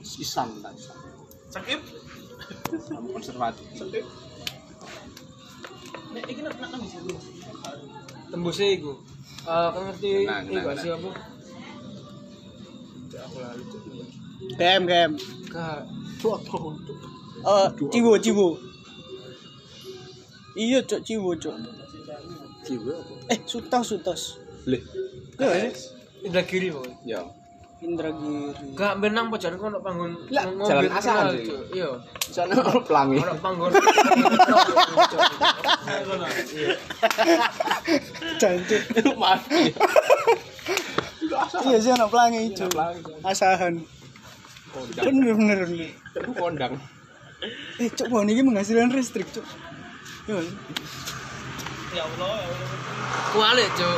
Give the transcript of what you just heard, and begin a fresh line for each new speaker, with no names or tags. Islam tak Islam
Sakit.
Kamu konservatif
Sakit. Nek iki nek nang bisa lu.
tembusnya iku Eh, kan ngerti
Tenang,
iku
tenang,
sih apa Tidak, aku lali tuh
Game game.
Kak,
Eh, cibo cibo. Iya, cok cibo, cok.
jiwa apa
Eh, sutas sutas.
leh
Ya,
Indra kiri pokoknya
ya
Indragiri.
Gak benang pacaran kok nak panggon
Lah,
ngombe
jalan
kenal,
asalan
Cuk.
sih.
Iya.
sana orang pelangi
Ono panggon.
Jancuk.
maaf
Iya sih anak pelangi itu. Asahan.
kondang
Bener bener. bener.
Itu kondang
Eh, cok, mau ini menghasilkan listrik, cok. Iya,
Ya Allah, ya Allah.
Kualik, Cuk.